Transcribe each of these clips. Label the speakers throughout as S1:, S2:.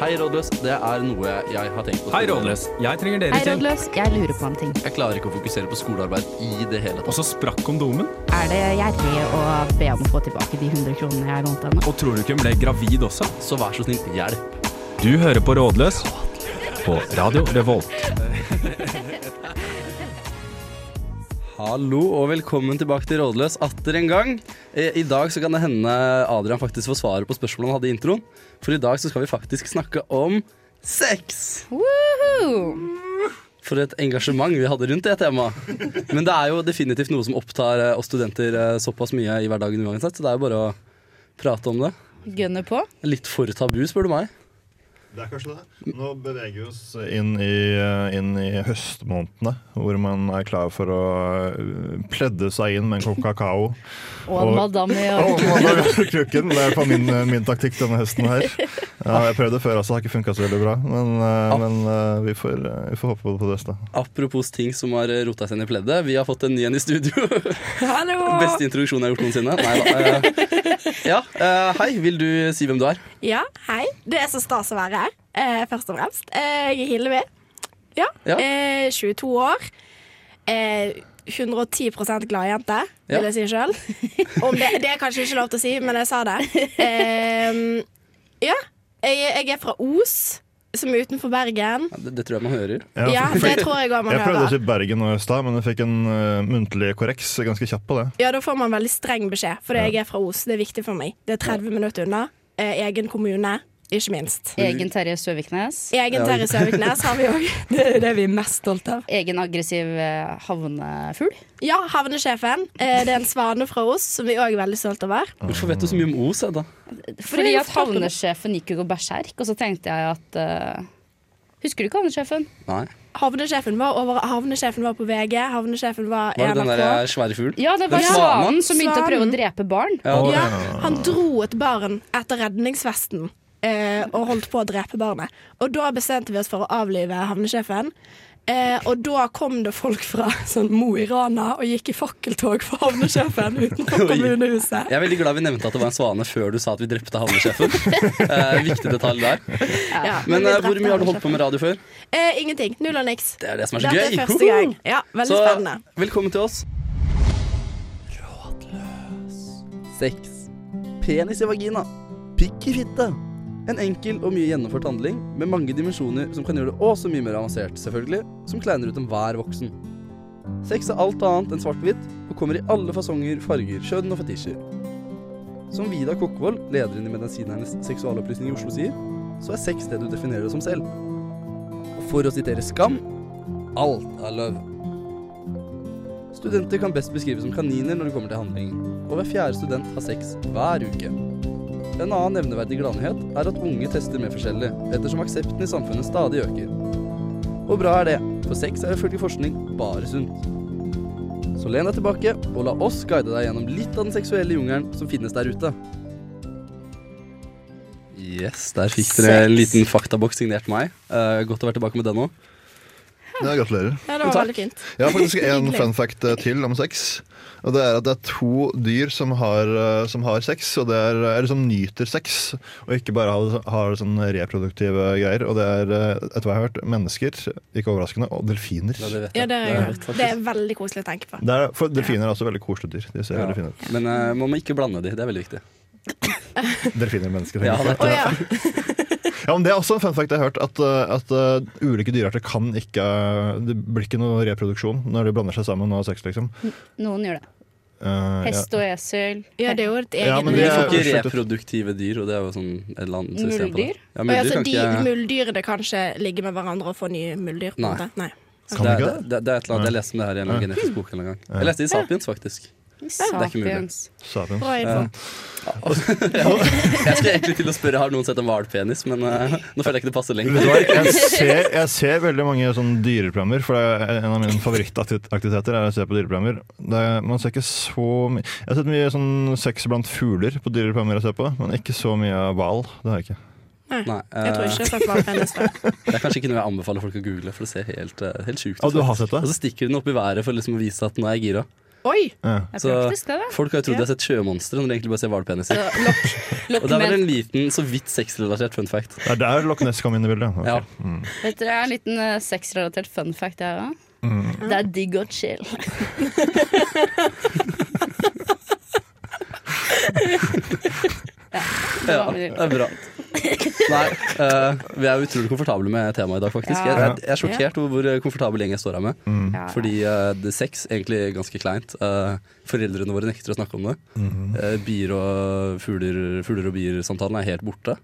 S1: Hei, rådløs. Det er noe jeg har tenkt på.
S2: Hei, Rådløs. Jeg trenger
S3: Hei,
S2: deres hjelp.
S3: rådløs. Jeg lurer på en ting.
S1: Jeg klarer ikke å fokusere på skolearbeid i det hele
S2: Og
S1: tatt.
S2: så sprakk kondomen.
S3: Er det gjerrig å be om å få tilbake de 100 kronene jeg lånte henne?
S2: Og tror du ikke hun ble gravid også?
S1: Så vær så snill, hjelp.
S2: Du hører på Rådløs på Radio Revolt.
S1: Hallo og velkommen tilbake til Rådløs atter en gang. I, i dag så kan det hende Adrian faktisk får svaret på spørsmålet han hadde i introen. For i dag så skal vi faktisk snakke om sex.
S3: Woohoo!
S1: For et engasjement vi hadde rundt det temaet. Men det er jo definitivt noe som opptar eh, oss studenter eh, såpass mye i hverdagen uansett, så det er jo bare å prate om det.
S3: Gønner på.
S1: Litt for tabu, spør du meg.
S4: Det er kanskje det. Nå beveger vi oss inn i, eh, inn i høstmånedene, hvor man er klar for å øh, pledde seg inn med en kopp kakao.
S3: Og en
S4: Og-
S3: madame i
S4: Å,
S3: år.
S4: man har rørt krukken. Det er i hvert fall min, eh, min taktikk denne høsten her. Ja, jeg prøvde før, altså. Det har ikke funka så veldig bra. Men, øh, men øh, vi, får, øh, vi får håpe på det beste.
S1: Apropos ting som har eh, rota seg inn i pleddet. Vi har fått en ny en i studio.
S5: Hallo!
S1: Beste introduksjon jeg har gjort noensinne. Nei da. eh, Ja, eh, hei. Vil du si hvem du er?
S5: Ja, hei. Det er så stas å være her, eh, først og fremst. Eh, jeg er Hillevi. Ja.
S1: Ja.
S5: Eh, 22 år. Eh, 110 gladjente,
S1: Ja.
S5: vil jeg si sjøl. Det, det er kanskje ikke lov til å si, men jeg sa det. Eh, ja. Jeg, jeg er fra Os, som er utenfor Bergen.
S1: Ja, Det, det tror jeg man hører.
S4: Ja,
S5: Ja,
S4: for-
S5: det tror jeg òg man
S4: jeg prøvde å
S5: hører.
S4: si Bergen nå i stad, men jeg fikk en øh, muntlig korreks ganske kjapt på det.
S5: Ja, da får man veldig streng beskjed, for jeg er fra Os. Det er viktig for meg. Det er 30 minutter unna. Eh, egen kommune, ikke minst.
S3: Egen Terje Søviknes.
S5: Egen
S1: Ja.
S5: Terje Søviknes har vi òg. Det er det vi er mest stolt av.
S3: Egen aggressiv eh, havnefugl.
S5: Ja, havnesjefen. Eh, Det er en svane fra oss som vi òg er veldig stolt over.
S1: Hvorfor vet du så mye om Os? Edda?
S3: Fordi at havnesjefen gikk jo berserk, og så tenkte jeg at eh, Husker du ikke havnesjefen?
S1: Nei.
S5: Havnesjefen var over Havnesjefen var på VG, havnesjefen var i
S1: Var det den
S5: NRK.
S1: der eh, svære fuglen?
S3: Ja, det var
S1: Den
S3: svanen som begynte å prøve å
S5: Svanen.
S3: drepe barn.
S1: Ja, det-
S5: Ja, han dro et barn etter redningsvesten eh, og holdt på å drepe barnet. Og da bestemte vi oss for å avlive havnesjefen. Eh, og da kom det folk fra sånn Mo i Rana og gikk i fakkeltog for havnesjefen utenfor kommunehuset.
S1: Jeg er veldig glad vi nevnte at det var en svane før du sa at vi drepte havnesjefen. Eh, viktig detalj der.
S5: Ja,
S1: Men eh,
S5: vi drepte
S1: hvor mye har du holdt på med radio før?
S5: havnesjefen. Eh, ingenting. Null og niks.
S1: Det er det som er så
S5: Dette
S1: gøy.
S5: er første gang. Ja, veldig
S1: Så,
S5: spennende.
S1: Velkommen til oss. Rådløs. Sex. Penis i vagina. Pikk i fitte. En enkel og mye gjennomført handling med mange dimensjoner som kan gjøre det også mye mer avansert, selvfølgelig, som kleiner ut enhver voksen. Sex er alt annet enn svart-hvitt og kommer i alle fasonger, farger, kjønn og fetisjer. Som Vida Kokkvold, lederen i Medisinernes seksualopplysning i Oslo, sier, så er sex det du definerer det som selv. Og for å sitere Skam alt er løv. Studenter kan best beskrives som kaniner når det kommer til handling, og hver fjerde student har sex hver uke. En annen nevneverdig gladnyhet er at unge tester mer forskjellig, ettersom aksepten i samfunnet stadig øker. Og bra er det, for sex er ifølge forskning bare sunt. Så len deg tilbake, og la oss guide deg gjennom litt av den seksuelle jungelen som finnes der ute. Yes, der fikk dere en liten faktaboks signert meg. Eh, godt å være tilbake med den òg.
S4: Ja, gratulerer.
S5: Ja, det var
S1: Takk.
S5: veldig fint.
S4: Jeg har faktisk en
S5: Hyggelig.
S4: fun fact eh, til om sex. Og det er at det er to dyr som har, eh, som har sex, og det er, eh, eller som nyter sex. Og ikke bare har, har sånne reproduktive greier. Og det er, eh, etter hva jeg har hørt, mennesker, ikke overraskende, og delfiner.
S1: Ja, det vet
S5: Ja,
S1: jeg.
S5: det
S1: Det
S5: er,
S1: er godt,
S5: det er veldig koselig å tenke på.
S4: Det er, for delfiner er også veldig koselige dyr. De ser veldig fine ut.
S1: Men eh, man må ikke blande de, det er veldig viktig.
S4: Delfiner og mennesker.
S1: Ja, det,
S4: tenker jeg.
S5: Å ja.
S4: Ja, men det er også en fun fact jeg har hørt, at, eh, at eh, ulike dyrearter kan ikke eh, Det blir ikke noe reproduksjon når de blander seg sammen og har sex, liksom.
S3: Noen gjør det.
S4: Eh, ja.
S3: Hest og esel.
S5: ja, det er jo et
S4: Ja,
S5: eget
S4: men
S1: men
S4: det
S1: de
S4: er-
S1: får ikke
S4: sluttet.
S1: reproduktive dyr, og det er jo sånn et eller annet system på det.
S3: Muldyr?
S1: Ja,
S5: Å, ja,
S1: muldyr
S5: så
S1: kan
S5: de
S1: ikke
S5: Mulddyrene kan ikke ligge med hverandre og få nye muldyr? på en
S1: Nei.
S5: måte. Nei.
S4: Kan de
S1: det, er-
S4: ikke
S1: det, det, det er et eller annet jeg leste om det her i en eller annen genetisk bok. en eller annen gang Jeg leste det i Sapiens, faktisk. ikke mulig.
S3: Sapiens.
S4: Sapiens.
S5: Bra info.
S1: Jeg skulle egentlig til å spørre har noen sett en hvalpenis, men eh, nå føler jeg ikke det passer
S4: Vet
S1: lenger.
S4: du hva, Jeg ser, jeg ser veldig mange sånne dyreprogrammer, for det er en av mine favorittaktiviteter er å se på dyreprogrammer. Det er, man ser ikke så mye Jeg har sett mye sånn sex blant fugler på dyreprogrammer jeg ser på, men ikke så mye av hval. Det har jeg ikke.
S1: Nei, eh,
S5: Jeg tror ikke jeg har sett hvalpenis før.
S1: det er kanskje ikke noe jeg anbefaler folk å google, for det ser helt, eh, helt sjukt
S4: Å,
S1: ut.
S4: du har sett
S1: Og
S4: det?
S1: så stikker du den opp i været for liksom å vise at nå er jeg gira.
S5: Oi!
S4: Ja.
S3: Det er
S1: Så
S3: praktisk, det, da.
S1: folk har jo trodd de har sett sjømonstre når de egentlig bare ser hvalpeniser.
S3: Så lokk, lokk
S1: Og det er vel
S3: menn.
S1: en liten, så vidt sexrelatert fun fact.
S4: Det er der Loch Ness kom inn i bildet. Ok.
S1: Ja.
S3: Vet dere, jeg har en liten eh, sexrelatert fun fact her òg.
S1: Mm.
S3: Det er digg og chill.
S1: Ja, det er bra. Nei, eh, vi er utrolig komfortable med temaet i dag, faktisk.
S3: Ja.
S1: Jeg, jeg, jeg er sjokkert over hvor komfortabel gjeng jeg står her med.
S3: Ja,
S1: Fordi eh, det er sex egentlig er ganske kleint. Eh, foreldrene våre nekter å snakke om det. Eh, bier og fugler, fugler og bier-samtalen er helt borte.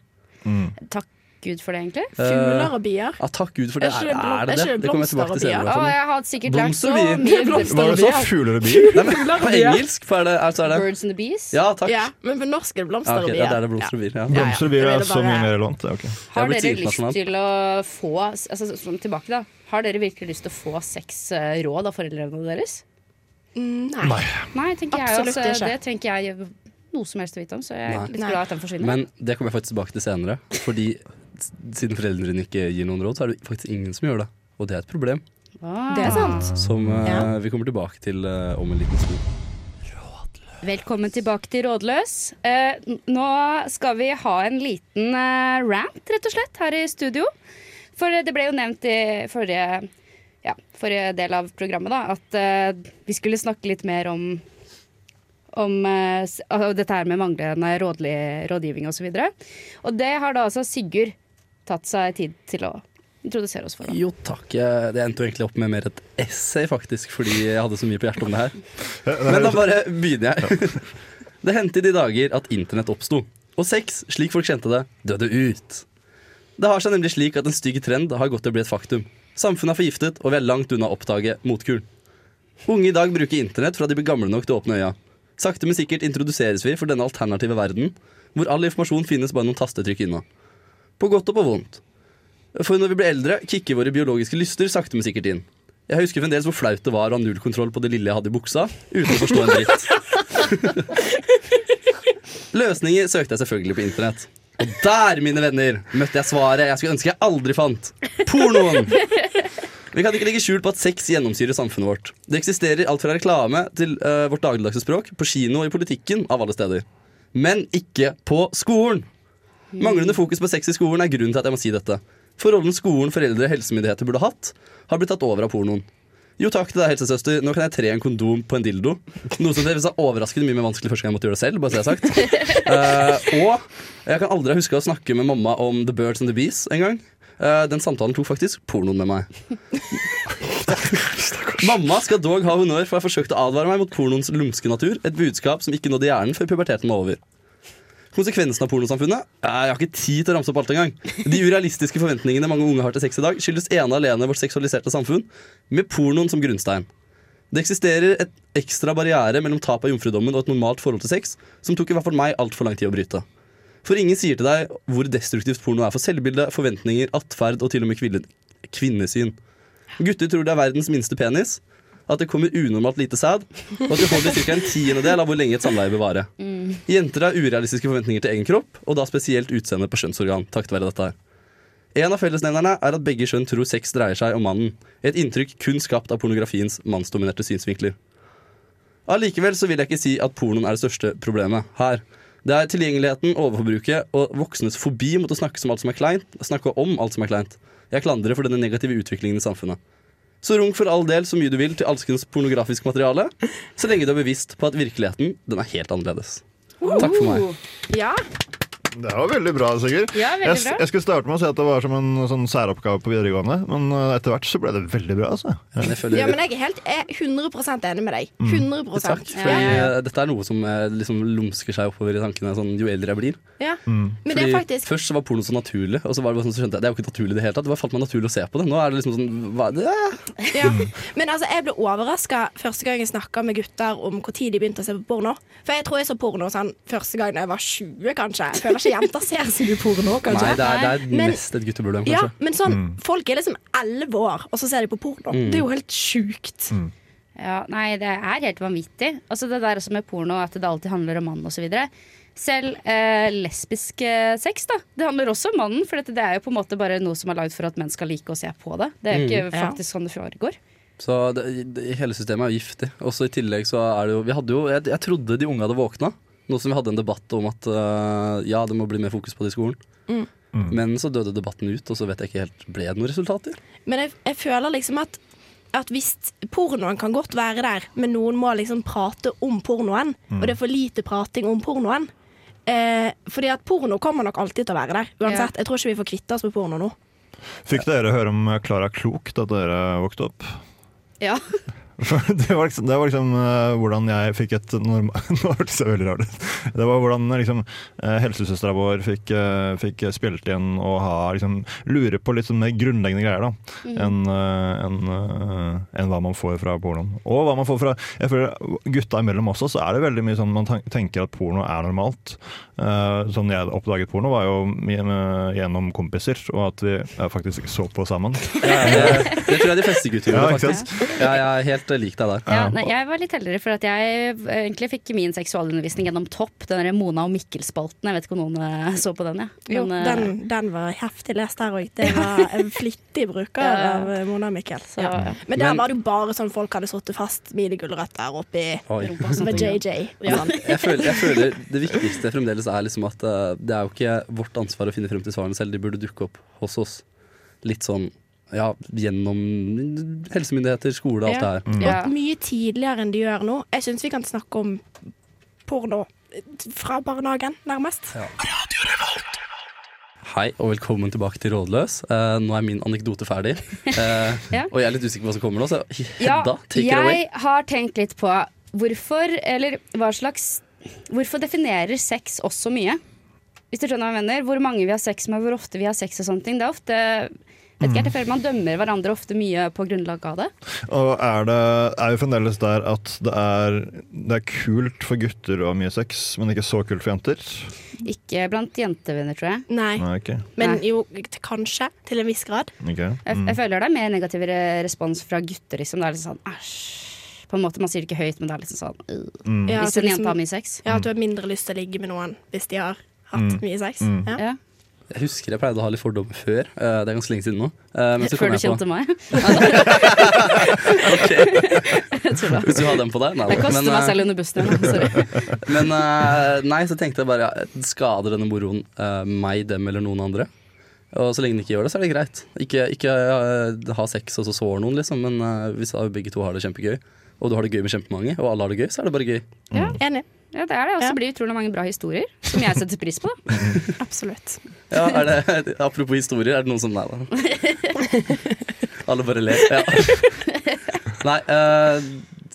S3: Takk Gud for det, egentlig.
S1: Eh,
S5: Fugler og bier.
S1: Ja, Ah, takk Gud for
S5: Er
S1: det.
S5: ikke
S1: Er,
S5: det blom-
S1: er det
S5: er
S1: det?
S5: ikke det
S1: Det kommer jeg tilbake til
S5: blomster og
S1: senere.
S3: Å,
S1: Sånn.
S3: jeg har sikkert lært så
S1: Blomster og bier.
S3: mye
S5: Blomster.
S4: Hva var det du sa? Fugler og bier?
S1: Nei, men,
S5: Fugler og
S1: på
S5: bier.
S1: engelsk for er det, er, så er det
S3: Birds and the bees.
S1: Ja, takk.
S5: Ja, men på norsk er det
S1: Ja,
S5: blomster
S1: ok,
S5: og bier.
S1: ja, det er det blomster og bier. Ja.
S5: Ja, ja.
S4: Blomster og bier
S5: Det
S4: er
S5: det
S4: så
S5: bare-
S4: mye mer relevant. det er ok.
S3: Har
S1: Jeg blir
S3: dere lyst
S1: internasjonal.
S3: til å få altså, sånn tilbake da Har dere virkelig lyst til å få seks eh, råd av foreldrene deres?
S5: Mm, Nei.
S3: Nei, tenker
S5: Absolutt
S3: jeg. Altså,
S5: ikke.
S3: det trenger ikke jeg noe som helst å vite om, så
S1: Nei.
S3: jeg er litt
S5: Nei.
S3: glad at den forsvinner.
S1: Men det kommer jeg faktisk tilbake til senere. Fordi s- siden foreldrene dine ikke gir noen råd, så er det faktisk ingen som gjør det. Og det er et problem
S3: Ah.
S5: Det er sant.
S1: som eh,
S5: Ja.
S1: vi kommer tilbake til eh, om en liten stund.
S3: Velkommen tilbake til Rådløs. Eh, n- nå skal vi ha en liten eh, rant, rett og slett, her i studio. For eh, det ble jo nevnt i forrige, ja, forrige del av programmet da, at eh, vi skulle snakke litt mer om, om eh, s- altså, dette her med manglende rådlig, rådgivning osv. Og, så videre. og det har da altså Sigurd tatt seg tid til å introdusere oss for. Da.
S1: Jo takk. jeg- Det endte jo egentlig opp med mer et essay, faktisk, fordi jeg hadde så mye på hjertet om det her. Men da bare begynner jeg. Det hendte i de dager at internett oppsto. Og sex, slik folk kjente det, døde ut. Det har seg nemlig slik at en stygg trend har gått til å bli et faktum. Samfunnet er forgiftet, og vi er langt unna å oppdage motkuren. Unge i dag bruker internett fra de blir gamle nok til å åpne øya. Sakte, men sikkert introduseres vi for denne alternative verden, hvor all informasjon finnes bare noen tastetrykk unna. På godt og på vondt. For når vi blir eldre, kicker våre biologiske lyster sakte, men sikkert inn. Jeg husker fremdeles hvor flaut det var å ha null kontroll på det lille jeg hadde i buksa, uten å forstå en dritt. Løsninger søkte jeg selvfølgelig på internett. Og der, mine venner, møtte jeg svaret jeg skulle ønske jeg aldri fant. Pornoen! Vi kan ikke legge skjul på at sex gjennomsyrer samfunnet vårt. Det eksisterer alt fra reklame til eh, vårt dagligdagse språk, på kino og i politikken, av alle steder. Men ikke på skolen! Manglende fokus på sex i skolen er grunnen til at jeg må si dette. Forholdene skolen, foreldre og helsemyndigheter burde hatt, har blitt tatt over av pornoen. Jo takk til deg, helsesøster, nå kan jeg tre en kondom på en dildo. Noe som deres er overraskende mye mer vanskelig første gang jeg måtte gjøre det selv. bare så det er sagt. Eh, og jeg kan aldri huske å snakke med mamma om The Birds and the Bees en gang. Eh, den samtalen tok faktisk pornoen med meg. Mamma skal dog ha honnør for å ha forsøkt å advare meg mot pornoens lumske natur, et budskap som ikke nådde hjernen før puberteten var over. Konsekvensen av pornosamfunnet? Eh, Jeg har ikke tid til å ramse opp alt engang. De urealistiske forventningene mange unge har til sex i dag, skyldes ene og alene vårt seksualiserte samfunn, med pornoen som grunnstein. Det eksisterer et ekstra barriere mellom tap av jomfrudommen og et normalt forhold til sex, som tok i hvert fall meg altfor lang tid å bryte. For ingen sier til deg hvor destruktivt porno er for selvbilde, forventninger, atferd og til og med kville- kvinnesyn. Gutter tror det er verdens minste penis, at det kommer unormalt lite sæd, og at det holder ca. en tiendedel av hvor lenge et samleie bør vare. Jenter har urealistiske forventninger til egen kropp, og da spesielt utseende på skjønnsorgan. Takket være dette her. En av fellesnevnerne er at begge skjønn tror sex dreier seg om mannen. Et inntrykk kun skapt av pornografiens mannsdominerte synsvinkler. Allikevel så vil jeg ikke si at pornoen er det største problemet her. Det er tilgjengeligheten, overforbruket og voksnes fobi mot å snakke, som alt som er kleint, snakke om alt som er kleint. Jeg klandrer for denne negative utviklingen i samfunnet. Så runk for all del så mye du vil til alskens pornografisk materiale, så lenge du er bevisst på at virkeligheten, den er helt annerledes. Takk for meg.
S5: Ja.
S4: Det var veldig bra, Sigurd.
S3: Ja, veldig
S4: jeg,
S3: bra.
S4: jeg skulle starte med å si at det var som en sånn særoppgave på videregående, men eh, etter hvert så ble det veldig bra. altså.
S1: Men jeg føler
S5: ja, men jeg er helt jeg er 100 enig med deg. 100
S1: Takk, fordi
S5: Ja, ja, ja.
S1: eh, dette er noe som eh, liksom lumsker seg oppover i tankene sånn, jo eldre jeg blir.
S5: Ja. Men det er
S1: Fordi
S5: faktisk
S1: Først så var porno så naturlig, og så var det bare sånn, så skjønte jeg det er jo ikke naturlig i det hele tatt. Det bare falt meg naturlig å se på det. Nå er det liksom sånn hva, det er.
S5: ja. Men altså, jeg ble overraska første gang jeg snakka med gutter om når de begynte å se på porno. For jeg tror jeg så porno sånn første gang da jeg var 20, kanskje. Jeg føler ikke jenter ser så mye porno, kanskje.
S1: Nei, det er, det er
S5: Men-
S1: mest et gutteproblem,
S5: Ja,
S1: kanskje.
S5: men sånn, folk er liksom 11 år, og så ser de på porno. Det er jo helt sjukt.
S3: Ja, nei, det er helt vanvittig. Altså Det der også med porno, at det alltid handler om mannen osv. Selv eh, lesbisk eh, sex, da. Det handler også om mannen, for dette, det er jo på en måte bare noe som er lagd for at menn skal like å se på det. Det er jo ikke
S5: Ja.
S3: faktisk sånn det foregår.
S1: Så det, det, hele systemet er jo giftig. Og så i tillegg så er det jo Vi hadde jo Jeg, jeg trodde de unge hadde våkna. Nå som vi hadde en debatt om at eh, ja, det må bli mer fokus på det i skolen.
S4: Mm.
S1: Men så døde debatten ut, og så vet jeg ikke helt Ble det noen resultater?
S5: Men jeg, jeg føler liksom at, at hvis pornoen kan godt være der, men noen må liksom prate om pornoen, og det er for lite prating om pornoen. Eh, fordi at porno kommer nok alltid til å være der. Uansett, Jeg tror ikke vi får kvitte oss med porno nå.
S4: Fikk dere høre om Klara Klok da dere vokste opp?
S3: Ja.
S4: For det var liksom, det var liksom eh, hvordan jeg fikk et norm- Nå hørtes det veldig rart ut. Det var hvordan eh, liksom, eh, helsesøstera vår fikk, eh, fikk spilt igjen og ha, liksom, lure på litt sånn mer grunnleggende greier da, enn eh, enn, eh, enn hva man får fra pornoen. Og hva man får fra jeg føler gutta imellom også, så er det veldig mye sånn man tan- tenker at porno er normalt. Eh, sånn jeg oppdaget porno, var jo gjennom gjennom kompiser, og at vi eh, faktisk så på sammen.
S1: det, det tror jeg de fleste gutter
S4: Ja,
S1: gjorde,
S4: ikke
S1: faktisk. Ja, jeg er helt eh, lik deg der.
S3: Ja, nei, jeg var litt heldigere, for at jeg eh, egentlig fikk min seksualundervisning gjennom Topp. Den der Mona og Mikkel-spalten. Jeg vet ikke om noen eh, så på den, jeg.
S5: Jo,
S3: Men, eh,
S5: den, den var heftig lest her òg. Det var en flittig bruker
S3: Ja.
S5: av eh, Mona Mikkel.
S3: så,
S5: Ja.
S3: ja.
S5: Men der
S1: Men-
S5: var det jo bare sånn folk hadde sittet fast minigulrøtter oppi
S1: Oi.
S5: med JJ. og sånn.
S1: Jeg føler, jeg føler det viktigste fremdeles er liksom at eh, det er jo ikke vårt ansvar å finne frem til svarene selv. De burde dukke opp hos oss. Litt sånn ja, gjennom helsemyndigheter, skole, alt det
S5: Ja.
S1: her.
S3: Ja.
S5: mye tidligere enn de gjør nå. Jeg syns vi kan snakke om porno fra barnehagen, nærmest.
S1: Hei og velkommen tilbake til Rådløs. Eh, nå er min anekdote ferdig. Eh,
S3: Ja.
S1: Og jeg er litt usikker på hva som kommer nå, så
S3: Ja,
S1: Hedda, take it away.
S3: jeg har tenkt litt på hvorfor, eller hva slags Hvorfor definerer sex også mye? Hvis du skjønner hva jeg mener. Hvor mange vi har sex med, hvor ofte vi har sex og sånne ting. Det er ofte vet ikke,
S1: Mm.
S3: jeg føler Man dømmer hverandre ofte mye på grunnlag av det.
S4: Og er det er jo fremdeles der at det er, det er kult for gutter å ha mye sex, men ikke så kult for jenter?
S3: Ikke blant jentevenner, tror jeg.
S5: Nei,
S4: Nei, ok.
S5: men
S3: Nei.
S5: jo, t- kanskje. Til en viss grad.
S4: Ok.
S3: Jeg,
S1: Mm.
S3: jeg føler det er mer negativ re- respons fra gutter, liksom. Det er litt sånn æsj. På en måte, Man sier det ikke høyt, men det er liksom sånn øh.
S1: Mm.
S5: Ja,
S3: Hvis
S5: så
S3: en
S5: liksom-
S3: jente har mye sex.
S5: ja, at du har mindre lyst til å ligge med noen hvis de har hatt
S1: Mm.
S5: mye sex. Ja.
S3: Ja.
S1: Jeg husker jeg pleide å ha litt fordommer før. eh, det er ganske lenge siden nå. Eh, men så kom
S3: Før du
S1: jeg på-
S3: kjente meg.
S1: Hvis du har den på deg? Nei,
S3: Jeg
S1: da.
S3: kaster
S1: Men,
S3: meg
S1: eh,
S3: selv under bussen. igjen, Sorry.
S1: Men eh, nei, så tenkte jeg bare ja, Skader denne moroen eh, meg, dem eller noen andre? Og så lenge den ikke gjør det, så er det greit. Ikke, ikke eh, ha sex og så sår noen, liksom, men eh, hvis begge to har det kjempegøy, og du har det gøy med kjempemange, og alle har det gøy, så er det bare gøy.
S3: Ja.
S5: Enig.
S3: Ja, det er det. Og så
S5: Ja.
S3: blir det utrolig mange bra historier, som jeg setter pris på. da.
S5: Absolutt.
S1: Ja, er det, apropos historier, er det noen som Nei da. Alle bare ler. Ja. Nei, eh,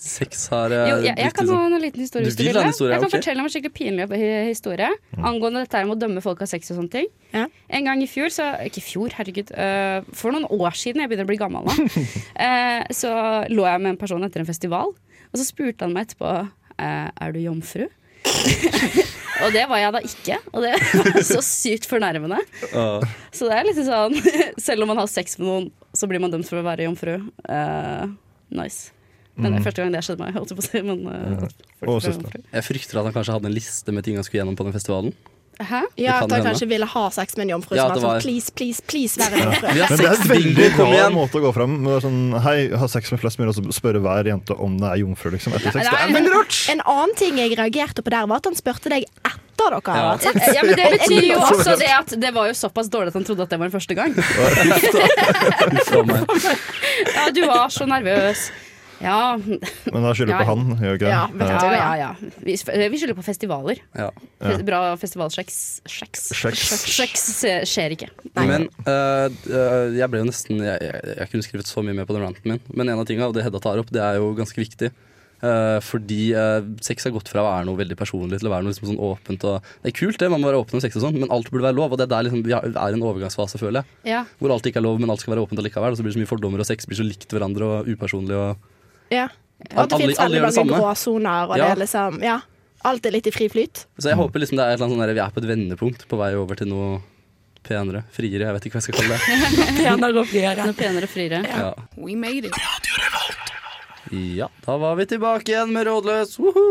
S1: sex har eh,
S3: Jo, jeg, jeg
S1: blitt
S3: kan
S1: liksom-
S3: ha en liten historie.
S1: Du
S3: hvis du
S1: vil ha en
S3: det.
S1: historie,
S3: Jeg kan
S1: ok. Mm.
S3: fortelle om en skikkelig pinlig eh, historie angående dette her med å dømme folk av sex og sånne ting.
S5: Ja.
S3: En gang i fjor, så Ikke i fjor, herregud. eh, for noen år siden, jeg begynner å bli gammel nå, eh, så lå jeg med en person etter en festival, og så spurte han meg etterpå eh, Er du jomfru? og det var jeg da ikke, og det var så sykt fornærmende.
S1: Åh.
S3: Så det er litt sånn Selv om man har sex med noen, så blir man dømt for å være jomfru. Eh, nice. Men det er første gang det skjedde meg. Holdt jeg på å si, men, eh, folk
S4: Og
S3: blir
S4: søster.
S3: jomfru.
S1: Jeg frykter at han kanskje hadde en liste med ting han skulle gjennom på den festivalen.
S3: Hæ?
S5: Ja,
S1: kan
S5: at han
S1: hende.
S5: kanskje ville ha sex med en jomfru.
S1: Ja,
S5: som
S1: det
S5: var
S1: var-
S5: sånn, please, please, please, vær en jomfru.
S1: Vi har
S4: Men det er
S1: sex,
S4: en
S1: bingo,
S4: veldig
S1: kom
S4: rar
S1: igjen!
S4: måte å gå fram. Men det er sånn, Hei, ha sex med flest mulig, og så spørre hver jente om det er jomfru liksom, etter sex. Det er
S3: Nei,
S4: veldig rart!
S5: En annen ting jeg reagerte på der, var at han spurte deg etter dere hadde hatt sex.
S3: Ja, men det betyr jo også det at det var jo såpass dårlig at han trodde at det var den første gang.
S1: Uff a meg.
S3: Ja, du var så nervøs. Ja,
S4: Men da skylder
S3: Ja.
S4: på han, gjør ikke det?
S5: Ja, men-
S4: Eh,
S3: ja, ja. ja. Vi, vi skylder på festivaler.
S1: Ja.
S3: Fe- Bra festivalsjekks. Sjekks.
S4: Sjekks.
S3: Sjekks se- skjer ikke.
S1: Men eh, eh, jeg ble jo nesten jeg, jeg, jeg kunne skrevet så mye mer på den ranten min. Men en av tingene, og det Hedda tar opp, det er jo ganske viktig. Eh, fordi eh, sex har gått fra å være noe veldig personlig til å være noe liksom sånn åpent. Og, det er kult, det, man må være åpen om sex og sånn, men alt burde være lov. Og det er der liksom, vi har- er i en overgangsfase, føler jeg.
S3: Ja.
S1: Hvor alt ikke er lov, men alt skal være åpent allikevel. Og så blir det så mye fordommer, og sex blir så likt hverandre og upersonlig. Og,
S5: Ja. Og at det
S1: Alle-
S5: finnes
S1: alle gjør
S5: veldig
S1: det
S5: mange
S1: samme.
S5: gråsoner, og det
S1: Ja.
S5: er liksom Ja. Alt er litt i fri flyt.
S1: så jeg håper liksom det er et eller annet sånn der, vi er på et vendepunkt på vei over til noe penere, friere, jeg vet ikke hva jeg skal kalle det.
S5: Penere og friere.
S3: Noe penere og friere.
S1: Ja.
S6: We made it.
S1: Ja, da var vi tilbake igjen med Rådløs. Woho!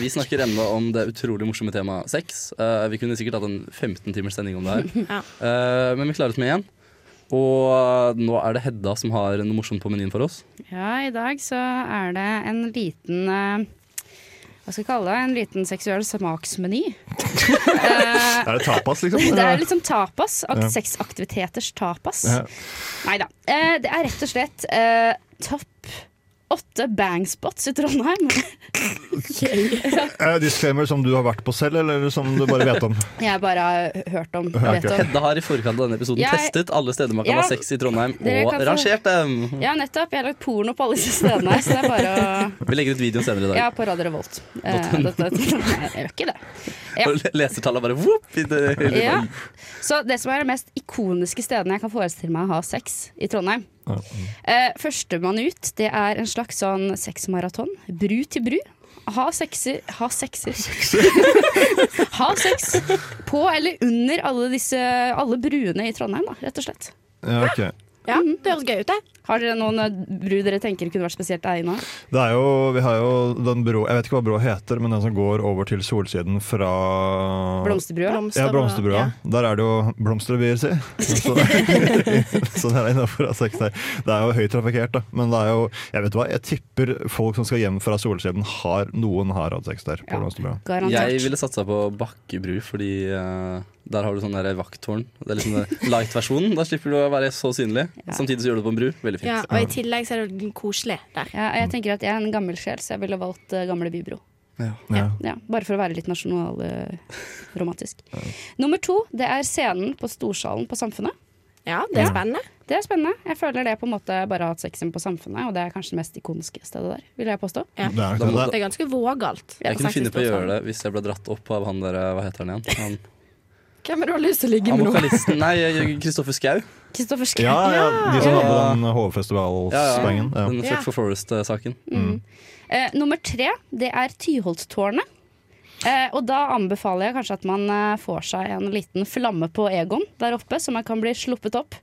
S1: Vi snakker ennå om det utrolig morsomme temaet sex. Eh, vi kunne sikkert hatt en 15 timers sending om det her,
S5: Ja.
S1: Eh, men vi klarer oss med igjen. Og eh, nå er det Hedda som har noe morsomt på menyen for oss.
S3: Ja, i dag så er det en liten eh, Hva skal jeg kalle det? En liten seksuell smaksmeny. Eh,
S4: Er det tapas, liksom?
S3: det er
S4: Eller?
S3: liksom tapas. Ak
S4: Ja.
S3: Sexaktiviteters tapas.
S4: Ja.
S3: Nei da. Eh, det er rett og slett eh, topp åtte bangspots i Trondheim.
S4: Er det Disclaimer som du har vært på selv, eller som du bare vet om?
S3: Jeg bare har hørt om.
S4: Ja,
S3: Vet
S4: ok.
S3: om.
S1: Hedda har i forkant av denne episoden
S3: Jeg-
S1: testet alle steder man kan
S3: Ja.
S1: ha sex i Trondheim,
S3: Dere
S1: og
S3: kan få-
S1: rangert dem.
S3: Ja, nettopp. Jeg har lagt porno på alle disse stedene. Så det er bare å
S1: Vi legger ut videoen senere i dag.
S3: Ja, på Radio Revolt. Eh, dette- dette- Nei, jeg gjør ikke det. ja.
S1: Og le- Lesertallet bare whoop, i det- i det-
S3: Ja. Så det som er det mest ikoniske stedene jeg kan forestille meg å ha sex i Trondheim eh, Førstemann ut, det er en slags sånn sexmaraton. Bru til bru. Ha sexer. Ha sexer. ha sex på eller under alle disse Alle bruene i Trondheim, da, rett og slett.
S4: Ja, ok.
S5: Ja,
S3: Mm.
S5: det høres gøy ut, det.
S3: Har dere noen eh, bru dere tenker kunne vært spesielt egna?
S4: Det er jo, vi har jo den brå, jeg vet ikke hva brå heter, men den som går over til solsiden fra
S3: Blomsterbrua?
S4: Ja, Blomsterbrua. Der er det jo blomster, vil jeg si. Så, så det er innafor sex der. Det er jo høyt trafikkert, da. Men det er jo, jeg vet hva, jeg tipper folk som skal hjem fra solsiden, har, noen har hatt sex der. på
S3: Ja.
S4: Blomsterbrua.
S1: Jeg
S3: Garantert.
S1: ville satsa på Bakkebru, fordi eh, der har du sånn der vakttårn. Det er liksom den light-versjonen. Da slipper du å være så synlig.
S3: Ja.
S1: Samtidig så gjør du det på en bru. Veldig fint.
S5: Ja, og i tillegg så er det jo koselig der.
S3: Ja, jeg tenker at jeg er en gammel sjel, så jeg ville valgt eh, gamle bybro.
S4: Ja.
S3: Ja, bare for å være litt nasjonalromantisk. Nummer to, det er scenen på Storsalen på Samfunnet.
S5: Ja, det er spennende.
S3: Det er spennende. Jeg føler det på en måte bare har hatt sexen på Samfunnet, og det er kanskje det mest ikoniske stedet der, vil jeg påstå.
S5: Ja.
S4: Det er,
S1: Da må-
S5: Det er ganske vågalt.
S1: Jeg kunne finne på å gjøre det hvis jeg ble dratt opp av han der eh, Hva heter han igjen? Han,
S5: Hvem er det du har lyst til å ligge
S1: han
S5: med nå?
S1: vokalisten Nei, eh, Kristoffer Schau.
S3: Kristoffer Schou.
S4: ja, ja, de som hadde
S1: Ja.
S4: den Hovefestivalspengen. Ja,
S1: Den
S5: Ja.
S1: Fuck for Forest-saken.
S3: Eh, nummer tre, det er Tyholttårnet. Eh, og da anbefaler jeg kanskje at man eh, får seg en liten flamme på Egon der oppe, så man kan bli sluppet opp.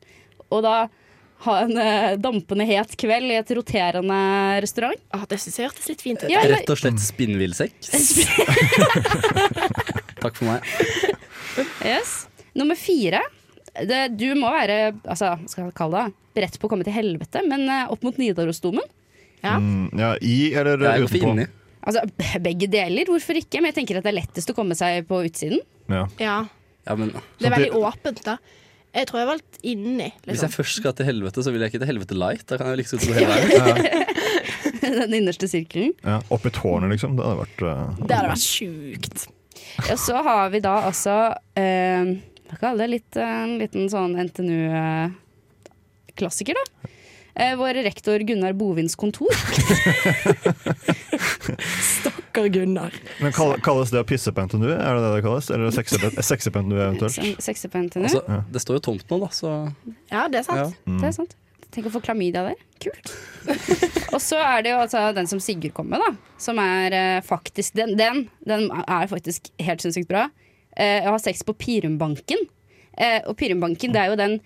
S3: Og da ha en eh, dampende het kveld i et roterende restaurant.
S5: Å, det syns jeg hørtes litt fint ut.
S3: Ja, eller-
S1: Rett og slett spinnvillsekk. Takk for meg.
S3: Yes. Nummer fire. Det, du må være altså, hva skal jeg kalle det, beredt på å komme til helvete, men eh, opp mot Nidarosdomen.
S5: Ja.
S4: Mm, ja, I eller
S1: Jeg er jo
S4: utenpå.
S1: inni.
S3: Altså, be- begge deler, hvorfor ikke? Men jeg tenker at det er lettest å komme seg på utsiden.
S4: Ja.
S5: ja.
S1: Ja, men
S5: Det er
S4: Samtidig-
S5: veldig åpent, da. Jeg tror jeg valgte inni.
S1: hvis jeg
S5: Liksom.
S1: først skal til helvete, så vil jeg ikke til helvete light. Da kan jeg liksom stå hele veien.
S3: Den innerste sirkelen.
S4: Ja, Oppi tårnet, liksom. Det hadde vært eh,
S5: Det hadde vært sjukt.
S3: Og så har vi da altså eh, Hva kaller det? Litt, eh, en liten sånn NTNU-klassiker, da. Eh, vår rektor Gunnar Bovins kontor.
S5: Stakkar Gunnar.
S4: Men kall, kalles det å pisse på NTNU? Er det det det kalles? Eller sexepen- sexepen NTNU eventuelt?
S3: Sekse på NTNU.
S1: Altså, det står jo tomt nå, da, så
S5: Ja, det er sant.
S1: ja.
S3: Det er sant. Tenk å få klamydia der. Kult. og så er det jo altså den som Sigurd kom med, da. Som er eh, faktisk den, den, den er faktisk helt sinnssykt bra. Eh, å ha sex på Pirumbanken. Eh, og Pirumbanken det er jo den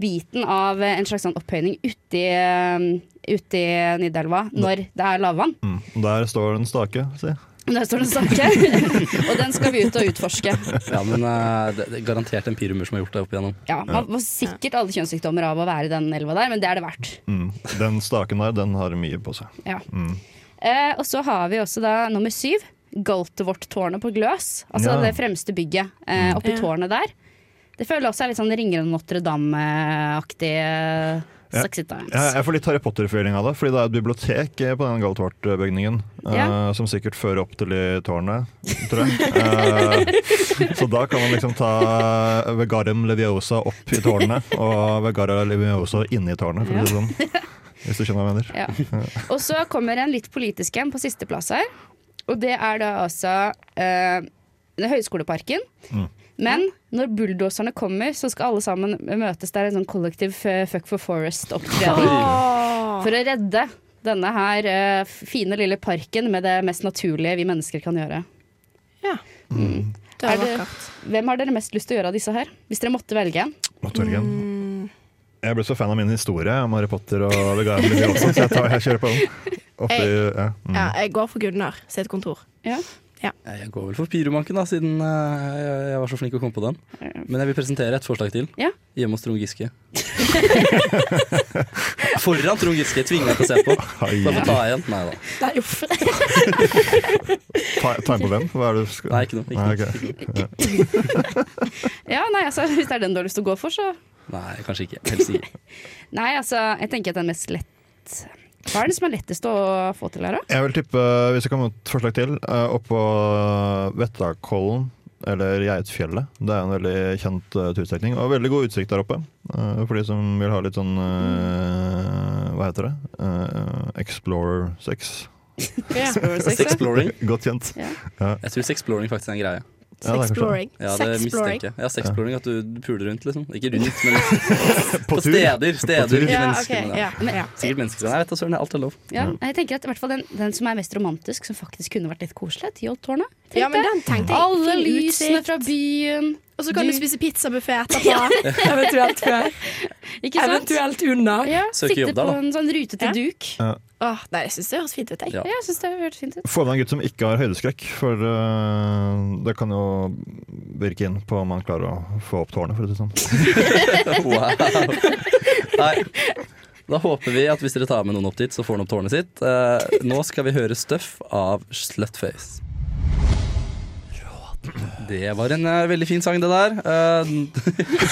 S3: biten av eh, en slags sånn opphøyning uti, uh, uti Nidelva når det er lavvann.
S4: Mm. Der står en stake, si.
S3: Der står det en sak. og den skal vi ut og utforske.
S1: ja, men eh, det, det er garantert en pirumer som har gjort det opp igjennom.
S3: Ja, Man får sikkert alle kjønnssykdommer av å være i den elva der, men det er det verdt.
S4: Mm. Den staken der, den har mye på seg. Mm.
S3: Ja. Eh, og så har vi også da nummer syv. Galtvort-tårnet på Gløs. Altså
S4: Ja.
S3: det fremste bygget eh, oppi
S5: Ja.
S3: tårnet der. Det føler jeg også er litt sånn Ringeren Notre Dame-aktig. eh, Saksitans.
S4: Jeg, jeg får litt Harry Potter-feeling av det, fordi det er et bibliotek eh, på den Galtvort-bygningen. eh,
S3: Ja.
S4: som sikkert fører opp til i tårnet, tror jeg. Eh, så da kan man liksom ta Vegarum Leviosa opp i tårnet, og Vegara Leviosa inni tårnet, for å si det sånn. Hvis du skjønner hva jeg mener.
S3: Ja. Og så kommer en litt politisk en på sisteplass her. Og det er da altså eh, Høgskoleparken. Men når bulldoserne kommer, så skal alle sammen møtes. Det er en sånn kollektiv eh, Fuck for Forest-opptreden.
S5: Åh.
S3: For å redde denne her eh, f- fine lille parken med det mest naturlige vi mennesker kan gjøre.
S5: Ja. Mm. Det var
S3: Er det-
S5: vakkert.
S3: Hvem har dere mest lyst til å gjøre av disse her? Hvis dere måtte velge en.
S4: Og Torgen.
S3: Mm.
S4: Jeg ble så fan av min historie om Harry Potter og Vegarum Leviosa, så jeg, tar, jeg kjører på den. Oppi, ja. Mm.
S5: Ja, jeg går for Gunnar sitt kontor.
S3: Ja.
S5: Ja.
S1: Jeg går vel for pyromanken, da, siden eh, jeg- jeg var så flink å komme på den. Men jeg vil presentere et forslag til.
S3: Ja.
S1: Hjemme hos Trond Giske. Foran Trond Giske. Tvinger meg til å se på. Da får jeg ta igjen. Nei da.
S5: Nei, uff.
S4: Ta ta en på hvem? Hva er det du skal
S1: Nei, ikke noe, ikke
S4: Nei,
S1: noe,
S4: ok.
S3: Ja, nei, altså, Hvis det er den du har lyst til å gå for, så
S1: Nei, kanskje ikke. Helst ikke.
S3: Nei, altså, jeg tenker at den mest lett Hva er det som er lettest å få til her, da?
S4: Jeg vil tippe, hvis det kommer et forslag til, eh, oppå Vettakollen eller Geitfjellet. Det er en veldig kjent eh, turstrekning, og veldig god utsikt der oppe. eh, For de som vil ha litt sånn eh, Hva heter det? Eh, Explorer 6.
S5: Ja.
S3: Sex, da?
S1: Sexploring.
S4: Godt kjent.
S3: Ja.
S1: Jeg tror sexploring faktisk er en greie.
S4: Ja, det er kanskje
S5: Sexploring.
S1: Ja, det
S5: Sexploring.
S1: mistenker jeg. Ja, sexploring, at du du puler rundt, liksom. Ikke rundt, men
S4: det.
S1: på steder. Steder,
S4: tur.
S1: ikke
S5: Ja, ok.
S1: mennesker. men ja.
S5: Ja, ja.
S1: Sikkert mennesker. Nei, vet du, søren, alt er lov.
S3: Ja, jeg tenker at i hvert fall den, den som er mest romantisk, som faktisk kunne vært litt koselig, er Tyholttårnet. tenkte
S5: ja, men
S3: jeg.
S5: den tenkte jeg.
S3: Alle
S5: Fin
S3: lysene
S5: utsikt.
S3: fra byen.
S5: Og så kan
S3: Du-
S5: du spise pizzabuffé etterpå. Eventuelt før.
S3: Ikke sant?
S5: Eventuelt under.
S3: Ja,
S1: Søke
S3: Sitte
S1: jobb der,
S3: på
S1: da.
S3: en sånn rute til duk.
S5: Åh, nei, jeg syns det høres fint ut. Jeg.
S1: Ja.
S3: Ja, jeg syns det har hørt fint ut.
S4: Eh, Få med en gutt som ikke har høydeskrekk, for eh, det kan jo virke inn på om man klarer å få opp tårnet, for å si det sånn.
S1: Wow. Nei. Da håper vi at hvis dere tar med noen opp dit, så får han opp tårnet sitt. Eh, nå skal vi høre Stuff av Slutface. Det var en eh, veldig fin sang, det der. Eh,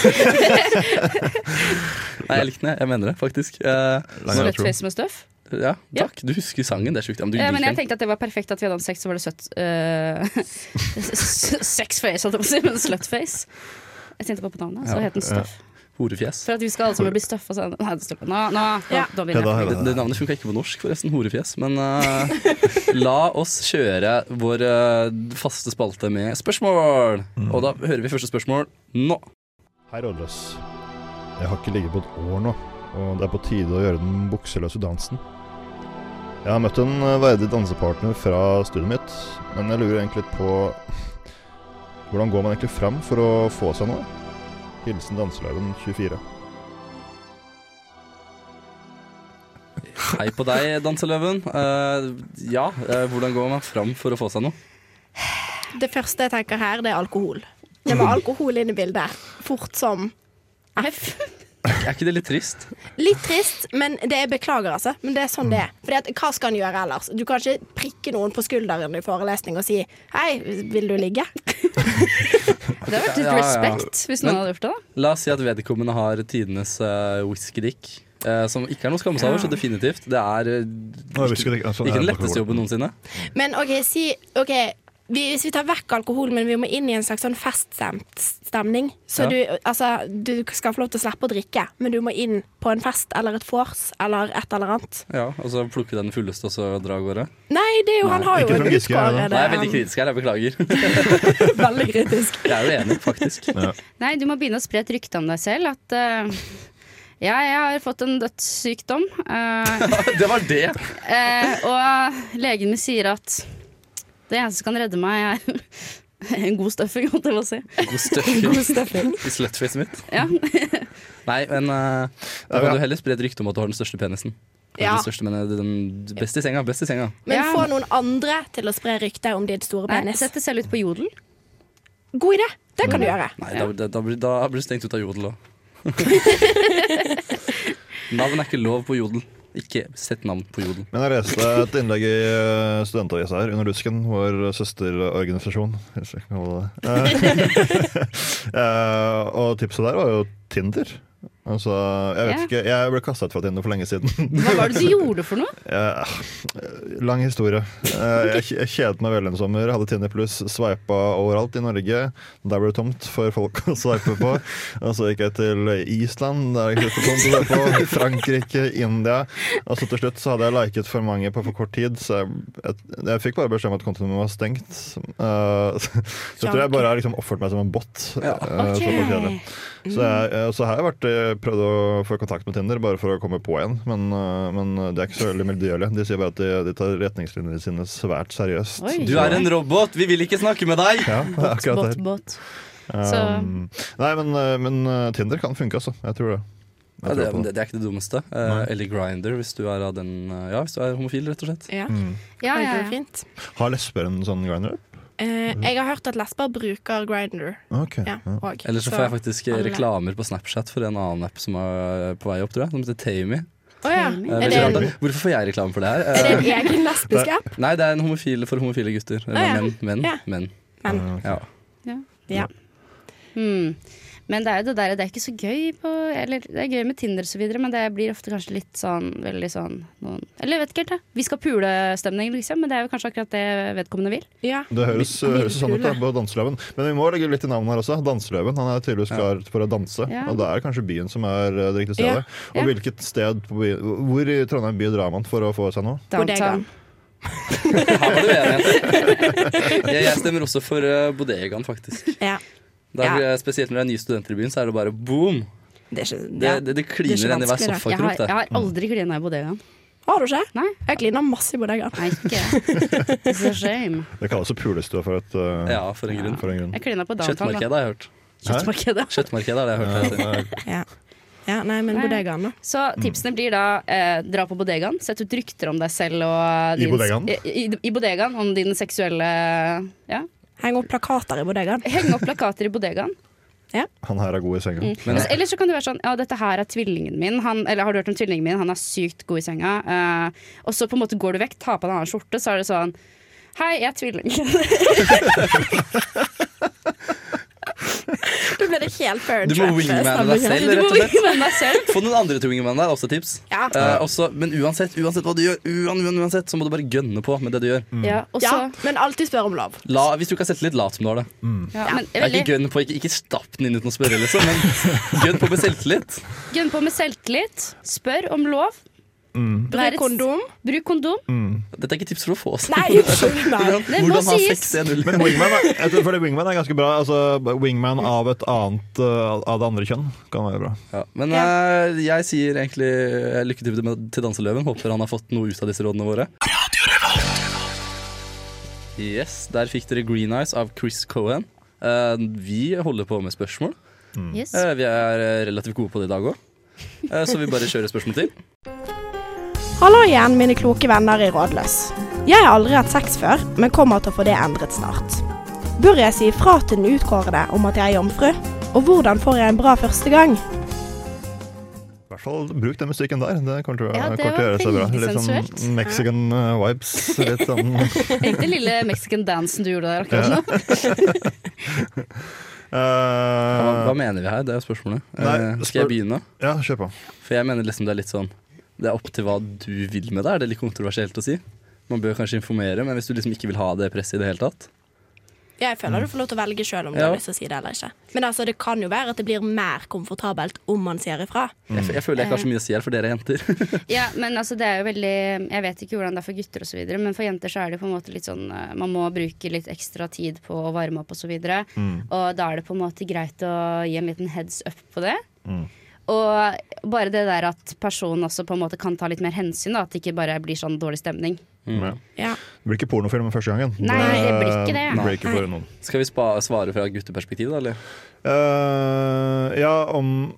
S1: Nei, jeg likte den, jeg. Jeg mener det, faktisk. Eh,
S4: Lang
S3: Rødt
S4: intro.
S3: fjes med støv.
S1: ja,
S3: Ja.
S1: takk. Du husker sangen, det er sjukt. Ja, men du
S3: Ja, Eh, men
S1: liker
S3: jeg
S1: den.
S3: tenkte at det var perfekt at vi hadde hatt sex, så var det søtt uh, Sexface, holdt jeg på å si, men slutface. Jeg tenkte bare på navnet, så
S1: Ja.
S3: het den Stuff.
S1: Horefjes.
S3: For at vi skal alle sammen bli støffa sånn. Nei, det stopper. Nå, nå, nå,
S5: Ja.
S3: nå
S4: Hedda,
S3: begynner jeg.
S1: Det, det navnet funka ikke på norsk, forresten. Horefjes. Men eh, la oss kjøre vår eh, faste spalte med spørsmål. Og da hører vi første spørsmål nå.
S4: Hei, Rådløs. Jeg har ikke ligget på et år nå, og det er på tide å gjøre den bukseløse dansen. Jeg har møtt en eh, verdig dansepartner fra studiet mitt, men jeg lurer egentlig litt på Hvordan går man egentlig fram for å få seg noe? Hilsen danseløven 24.
S1: Hei på deg, danseløven. Eh, ja, eh, hvordan går man fram for å få seg noe?
S5: Det første jeg tenker her, det er alkohol. Det var alkohol inn i bildet. Fort som F.
S1: Er ikke det litt trist?
S5: Litt trist, men det jeg beklager, altså. Men det er sånn det er. Fordi at, hva skal han gjøre ellers? Du kan ikke prikke noen på skulderen i forelesning og si 'Hei, vil du ligge?'
S3: Det hadde vært litt
S1: Ja, ja, ja.
S3: respekt hvis noen
S1: Men-
S3: hadde gjort det. da
S1: La oss si at vedkommende har tidenes uh, whiskydick. eh, som ikke er noe å skamme seg over, så definitivt. Det er eh, ikke, ikke den letteste jobben noensinne.
S5: Men OK, si OK, vi, hvis vi tar vekk alkohol, men vi må inn i en slags sånn feststemt stemning
S1: Ja.
S5: Så du, altså, du skal få lov til å slippe å drikke, men du må inn på en fest eller et vors eller et eller annet.
S1: Ja, Og så plukke den fulleste og så dra av gårde.
S5: Nei, det er jo, han har jo
S4: ikke
S5: en
S4: fra Giske, ja.
S5: utgave. det
S1: sånn Nei, jeg er
S5: er
S1: veldig kritisk her, jeg beklager.
S5: han- veldig kritisk.
S1: Jeg er jo enig, faktisk.
S3: Nei, du må begynne å spre et rykte om deg selv. At eh, ja, jeg har fått en dødssykdom. eh,
S1: Det var det!
S3: eh, og legen min sier at det eneste som kan redde meg, er en god støffing, holdt jeg på å si.
S1: God støffing i slutfacet mitt.
S3: Ja.
S1: Nei, men eh, da kan du heller spre et rykte om at du har den største penisen. Kanskje
S5: Ja.
S1: Den største, men den beste i senga. Best i senga.
S5: Men
S3: Ja.
S5: få noen andre til å spre rykter om din store
S3: Nei,
S5: penis.
S3: Sett det selv ut på jodel.
S5: God idé! Det
S1: Mm.
S5: kan du gjøre.
S1: Nei, da, da, da, blir, da blir du stengt ut av jodel òg. Navn er ikke lov på jodel. Ikke sett navn på jodel.
S4: Men jeg leste et innlegg i eh, studentavisa her, Under Dusken, vår søsterorganisasjon. Hvis jeg kan kalle det det. Eh, eh, og tipset der var jo Tinder. Altså, jeg vet
S3: Ja.
S4: ikke, jeg ble kasta ut fra Tinder for lenge siden.
S3: Hva var det du gjorde for noe?
S4: Eh, lang historie. Eh, jeg, jeg kjedet meg veldig en sommer. Hadde Tinder pluss, sveipa overalt i Norge. Der ble det tomt for folk å sveipe på. Og så gikk jeg til Island, der gikk det for tomt å sveipe på. Frankrike, India. Og så til slutt så hadde jeg liket for mange på for kort tid, så jeg, jeg, jeg fikk bare beskjed om at kontoen min var stengt. Eh, så jeg tror jeg bare har liksom oppført meg som en bot.
S1: Ja.
S4: eh, så folk kjenner. Så, jeg, eh, så her har jeg vært, eh, prøvd å få kontakt med Tinder bare for å komme på igjen, men, eh, men det er ikke så veldig miljølig. De sier bare at de, de tar retningslinjene sine svært seriøst.
S3: Oi.
S1: Du er en robot! Vi vil ikke snakke med deg!
S4: Ja, det er akkurat
S3: Båt,
S4: det.
S3: båt. så-
S4: Um, nei, men, eh, men eh, Tinder kan funke, altså. Jeg tror det. Jeg
S1: Ja, det,
S4: tror på
S1: det, det er ikke det dummeste. Eh,
S4: Nei.
S1: eller Grinder, hvis du er av den eh, Ja, hvis du er homofil, rett og slett.
S5: Ja.
S4: Mm.
S3: Ja, ja, ja.
S5: Fint.
S4: Har lesber en sånn grinder?
S5: Eh, jeg har hørt at lesber bruker grinder.
S4: Ok.
S5: Ja,
S4: ja.
S5: og-
S1: Eller så får jeg faktisk eh,
S5: alle-
S1: reklamer på Snapchat for en annen app som er på vei opp, tror jeg. Som heter Tami.
S5: Å ja.
S1: Eh,
S5: Er
S1: veldig
S5: det,
S1: rart,
S5: en,
S1: da. Hvorfor får jeg reklame for det her?
S5: er det
S1: Eh,
S5: en egen lesbisk app?
S1: Nei, det er en homofil for homofile gutter. Eller
S5: ja.
S1: menn. menn,
S5: Ja.
S1: menn.
S5: Men
S4: Eh,
S1: Ja.
S5: ja.
S3: Hmm. Men det er jo det der, det er ikke så gøy på Eller det er gøy med Tinder og så videre, men det blir ofte kanskje litt sånn veldig sånn noen Eller jeg vet ikke helt, jeg. Vi skal pule-stemning, liksom, men det er jo kanskje akkurat det vedkommende vil.
S5: ja.
S4: Det høres,
S5: Vi-
S4: høres sånn ut da, på Danseløven. Men vi må legge litt i navnet her også. Danseløven. Han er tydeligvis klar for å danse.
S3: Ja.
S4: Og det er kanskje byen som er eh, det riktige
S5: Ja.
S4: stedet. Og
S3: Ja.
S4: hvilket sted på by, Hvor i Trondheim by drar man for å få seg noe?
S5: Bodegaen.
S1: Her var det uenighet. Jeg, jeg stemmer også for eh, bodegaen, faktisk.
S5: Ja.
S1: Det er,
S5: Ja.
S1: eh, Spesielt når det er nye studenter i byen, så er det bare boom!
S5: Det er ikke,
S1: Det,
S5: ja.
S1: det, det
S5: Det er
S1: kliner
S5: ikke
S1: enn i hver
S5: vanskelig, da.
S3: Jeg har,
S1: sofakrok.
S3: jeg
S1: det.
S4: Mm.
S3: har aldri klina i bodegaen.
S5: Har du ikke?
S3: Nei.
S5: Jeg kliner masse i bodegaen.
S3: Nei, ikke It's a shame.
S4: Det kalles jo pulestue for, et, eh,
S1: Ja, for en grunn.
S4: for en grunn.
S3: Jeg klina på downtown, da.
S1: Kjøttmarkedet har jeg hørt.
S3: Kjøttmarkedet.
S1: Kjøttmarkedet har jeg hørt. det heter.
S4: Ja,
S5: Ja. ja, nei, men
S3: Nei.
S5: bodegaen, da.
S3: Så
S4: Mm.
S3: tipsene blir da eh, dra på bodegaen, sett ut rykter om deg selv og
S4: I bodegaen?
S3: I, i, i bodegaen om din seksuelle Ja.
S5: Heng opp plakater i bodegaen.
S3: Henge opp plakater i bodegaen.
S4: Han her er god i senga.
S1: Men-
S3: Altså, Eller så kan det være sånn Ja, dette her er tvillingen min. Han, eller har du hørt om tvillingen min? Han er sykt god i senga. Eh, og så på en måte går du vekk, tar på en annen skjorte, så er det sånn Hei, jeg er tvilling.
S5: Da blir det helt
S1: Du må wingmanne deg selv, rett og slett.
S3: Med meg selv.
S1: Få noen andre til å wingmanne deg, også tips.
S5: Ja.
S1: Eh, også, men uansett, uansett hva du gjør, uan, uan, uansett, så må du bare gønne på med det du gjør.
S3: Mm. Ja, og
S5: Ja,
S3: så
S5: men alltid spør om lov.
S1: La, hvis du ikke har selvtillit, lat som du har det.
S3: ja, men
S1: Jeg er
S3: veldig-
S1: ikke gønn på, ikke, ikke stapp den inn uten å spørre, liksom, men gønn på med selvtillit.
S3: Gønn på med selvtillit. Spør om lov. Vær
S5: Bruk
S3: et-
S5: kondom.
S3: Bruk kondom.
S1: Mm. Dette er ikke tips for å få oss.
S5: Nei, unnskyld meg.
S1: Hvordan,
S3: Det må
S1: hvordan ha
S3: sies.
S1: sex i en ull.
S4: Men wingman er, jeg tror- fordi wingman er ganske bra. Altså, wingman
S3: Mm.
S4: av et annet eh, Av det andre kjønn kan være bra.
S1: Ja, men eh, jeg sier egentlig eh, lykke til, med, til Danseløven. Håper han har fått noe ut av disse rådene våre. Yes, Der fikk dere Green Eyes av Chris Cohen. Eh, vi holder på med spørsmål.
S3: Yes.
S1: Eh, vi er eh, relativt gode på det i dag òg, så vi bare kjører spørsmål til.
S5: Hallo igjen, mine kloke venner i Rådløs. Jeg har aldri hatt sex før, men kommer til å få det endret snart. Bør jeg si ifra til den utkårede om at jeg er jomfru? Og hvordan får jeg en bra første gang?
S4: I hvert fall bruk den musikken der. Det kommer til, å-
S3: Ja, det
S4: kommer til å
S3: var
S4: gjøre seg bra.
S3: veldig
S4: Litt
S3: sensuelt.
S4: sånn Mexican eh, vibes. Litt sånn
S3: Tenk den lille mexican dansen du gjorde der akkurat nå.
S1: Hva,
S4: eh,
S1: hva mener vi her? Det er spørsmålet. Eh,
S4: Nei,
S1: skal
S4: spør-
S1: jeg begynne?
S4: Ja, kjør på.
S1: For jeg mener liksom det er litt sånn Det er opp til hva du vil med det. Er det litt kontroversielt å si? Man bør kanskje informere, men hvis du liksom ikke vil ha det presset i det hele tatt
S5: Jeg føler du får lov til å velge sjøl om
S1: du Mm. Ja. har lyst
S5: til å si det eller ikke. Men altså, det kan jo være at det blir mer komfortabelt om man sier ifra.
S1: jeg, f- jeg føler jeg ikke har så mye å si her, for dere er jenter.
S3: Ja, men altså det er jo veldig Jeg vet ikke hvordan det er for gutter og så videre, men for jenter så er det jo på en måte litt sånn eh, Man må bruke litt ekstra tid på å varme opp og så videre.
S4: Mm.
S3: Og da er det på en måte greit å gi en liten heads up på det.
S4: Mm.
S3: Og bare det der at personen også på en måte kan ta litt mer hensyn, da, at det ikke bare blir sånn dårlig stemning.
S1: Mm.
S4: Ja.
S5: Ja.
S4: Det blir ikke pornofilm første gangen.
S3: Nei, det blir ikke det.
S4: blir ikke for noen.
S1: Skal vi spa svare fra gutteperspektiv, da? Eller?
S4: Eh, ja, om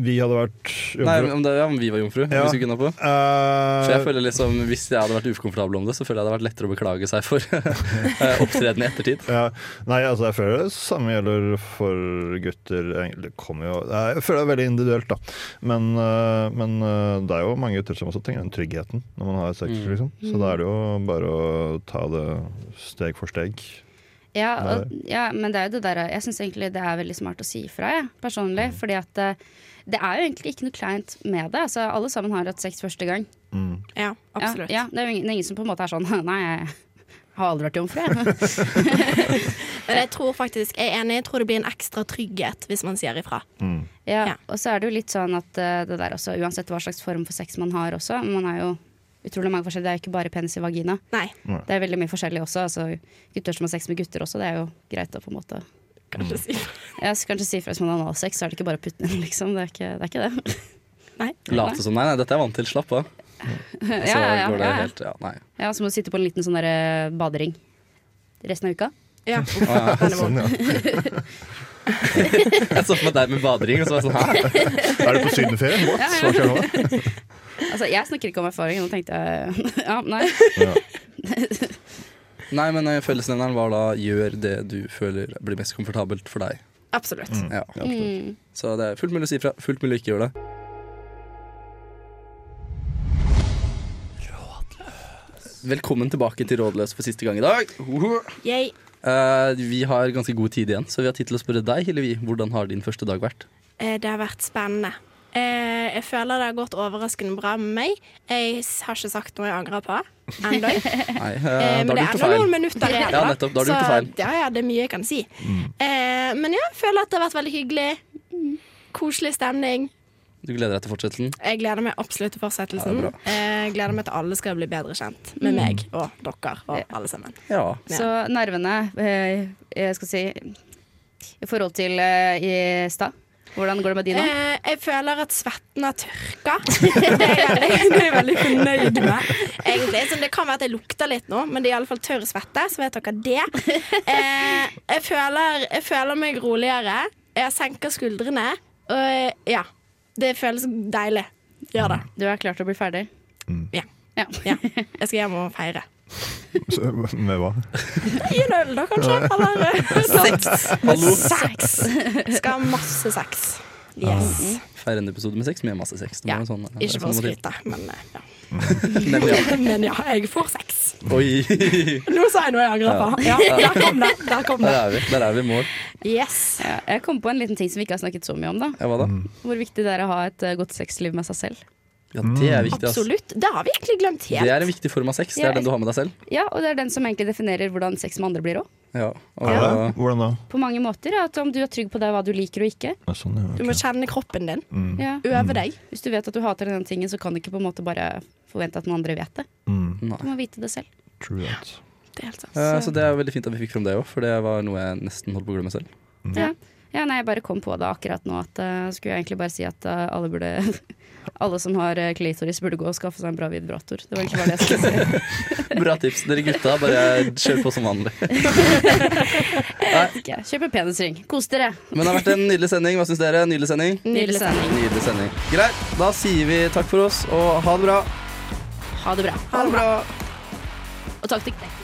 S4: vi hadde vært
S1: Nei, om, det, ja, om vi var jomfru.
S4: Ja.
S1: Hvis vi kunne på.
S4: Eh,
S1: For jeg føler liksom, Hvis jeg hadde vært ukomfortabel om det, så føler jeg det hadde vært lettere å beklage seg for eh, opptreden i ettertid.
S4: ja, nei, altså jeg føler det samme gjelder for gutter. egentlig. Det kommer jo Nei, Jeg føler det er veldig individuelt, da. Men, eh, men eh, det er jo mange gutter som også trenger den tryggheten når man har sex. liksom Så da er det jo bare å ta det steg for steg.
S3: Ja,
S4: Det er
S3: og, ja, men det er jo det der Jeg syns egentlig det er veldig smart å si ifra, jeg, personlig.
S4: Mm.
S3: Fordi at eh, det er jo egentlig ikke noe kleint med det. Altså, alle sammen har hatt sex første gang.
S5: Ja,
S3: Ja,
S5: absolutt.
S3: ja, det er jo ingen, det er ingen som på en måte er sånn Nei, jeg har aldri vært jomfru. jeg».
S5: Men jeg tror faktisk, jeg er enig, jeg tror det blir en ekstra trygghet hvis man sier ifra.
S3: Ja,
S5: Ja.
S3: og så er det jo litt sånn at eh, det der også, uansett hva slags form for sex man har også Man har jo utrolig mange forskjellige. Det er jo ikke bare penis i vagina.
S5: Nei.
S3: Det er veldig mye forskjellig også. Altså, gutter som har sex med gutter også, det er jo greit å på en måte
S1: Mm.
S5: Kanskje si ifra.
S3: Jeg skal kanskje si ifra hvis man har analsex, så er det ikke bare å putte den inn, liksom. Det er ikke det. Er ikke det.
S5: Nei.
S1: Late som nei, nei, dette er jeg vant til. Slapp av.
S3: Ja,
S1: Så
S3: ja, ja,
S1: går det
S3: ja, ja.
S1: helt ja, Nei.
S3: Ja, så må du sitte på en liten sånn der eh, badering resten av uka.
S5: Ja. Den er
S4: Sånn,
S5: vond.
S4: ja.
S1: Jeg så for meg deg med badering, og så var jeg sånn hæ?
S4: Er du på sydenferie? What? Hva skjer nå?
S3: Altså, jeg snakker ikke om erfaring, nå tenkte jeg Ja, nei.
S1: Nei, men eh, fellesnevneren var da 'gjør det du føler blir mest komfortabelt for deg'.
S5: Absolutt.
S1: Ja.
S3: Mm.
S1: Så det er fullt mulig å si fra. Fullt mulig å ikke gjøre det. Velkommen tilbake til Rådløs for siste gang i dag. Mm.
S5: Yay.
S1: Eh, vi har ganske god tid igjen, så vi har tid til å spørre deg, Hillevi, hvordan har din første dag vært?
S5: Eh, Det har vært spennende. Eh, Jeg føler det har gått overraskende bra med meg. Jeg s- har ikke sagt noe jeg angrer på ennå.
S1: Nei, eh, da har du
S5: Eh, Men det
S1: gjort
S5: er
S1: det
S5: nå noen
S1: feil.
S5: minutter igjen.
S1: Ja, nettopp. Da har du gjort det feil. Mm.
S5: Så ja, ja, det er mye jeg kan si. Eh, Men ja, jeg føler at det har vært veldig hyggelig. Mm. Koselig stemning.
S1: Du gleder deg til fortsettelsen?
S5: Jeg gleder meg absolutt til fortsettelsen.
S1: Ja, det er
S5: Eh, Jeg gleder meg til alle skal bli bedre kjent med meg og dere og alle sammen.
S1: Ja.
S5: Ja.
S3: Så nervene, eh, jeg skal si I forhold til eh, i stad. Hvordan går det med de nå?
S5: Eh, jeg føler at svetten har tørka. Det er jeg veldig- det er jeg veldig fornøyd med. Egentlig, så Det kan være at jeg lukter litt nå, men det er iallfall tørr svette. Så vet dere det. Eh, jeg, føler, jeg føler meg roligere. Jeg senker skuldrene. Og ja. Det føles deilig. Gjør det.
S3: Du er klar til å bli ferdig?
S5: Ja.
S3: Ja.
S5: ja. Jeg skal hjem og feire.
S4: Så, Med hva?
S5: Gi en øl, da, kanskje. Eller sex.
S1: Hallo.
S5: sex. Skal ha masse sex.
S1: Mm-hmm.
S5: Yes.
S1: Feir en episode med sex med masse sex. Det må
S5: Ja.
S1: være sånn, det er
S5: Ikke for å
S1: sånn det
S5: skryte, men eh, ja.
S1: må til. Nemlig, ja.
S5: Men ja, jeg får sex.
S1: Oi,
S5: Nå sa jeg noe jeg angrer på. Ja, der kom det. Der kom
S1: der
S5: det.
S1: er vi. Der er vi i mål.
S5: Yes.
S3: Ja, jeg kom på en liten ting som vi ikke har snakket så mye om. da
S1: Ja, hva da?
S5: Mm.
S3: Hvor viktig det er å ha et eh, godt sexliv med seg selv.
S1: Ja, det er viktig, ass.
S5: Absolutt. Det har vi egentlig glemt
S1: Det
S5: helt.
S1: er en viktig form av sex. Det
S3: Ja.
S1: er den du har med deg selv.
S3: Ja, Og det er den som egentlig definerer hvordan sex med andre blir òg.
S1: Ja. Og,
S4: Er det det? Hvordan da?
S3: På mange måter. At om du er trygg på deg, hva du liker og ikke.
S4: Ja, Sånn, ja. Mm,
S5: Du må
S4: ok.
S5: kjenne kroppen din.
S3: Ja.
S1: Mm.
S5: Øve deg.
S3: Hvis du vet at du hater denne tingen, så kan du ikke på en måte bare forvente at noen andre vet det.
S4: Mm,
S3: Du må vite det selv.
S4: true that.
S5: Det er helt sant.
S1: eh, så det er veldig fint at vi fikk fram det òg, for det var noe jeg nesten holdt på å glemme selv.
S3: Ja. ja, nei, jeg bare kom på det akkurat nå at eh, skulle jeg egentlig bare si at eh, alle burde Alle som har eh, klitoris, burde gå og skaffe seg en bra vibrator. Det var egentlig bare det jeg skulle si.
S1: Bra tips. Dere gutta, bare kjør på som vanlig.
S3: Ikke. Kjøp en penisring. Kos dere.
S1: Men det har vært en nydelig sending. Hva syns dere? Nydelig sending?
S3: Nydelig sending.
S1: Nydelig sending. Greit. Da sier vi takk for oss, og ha det bra.
S3: Ha det bra.
S1: Ha det bra.
S3: Og takk til deg.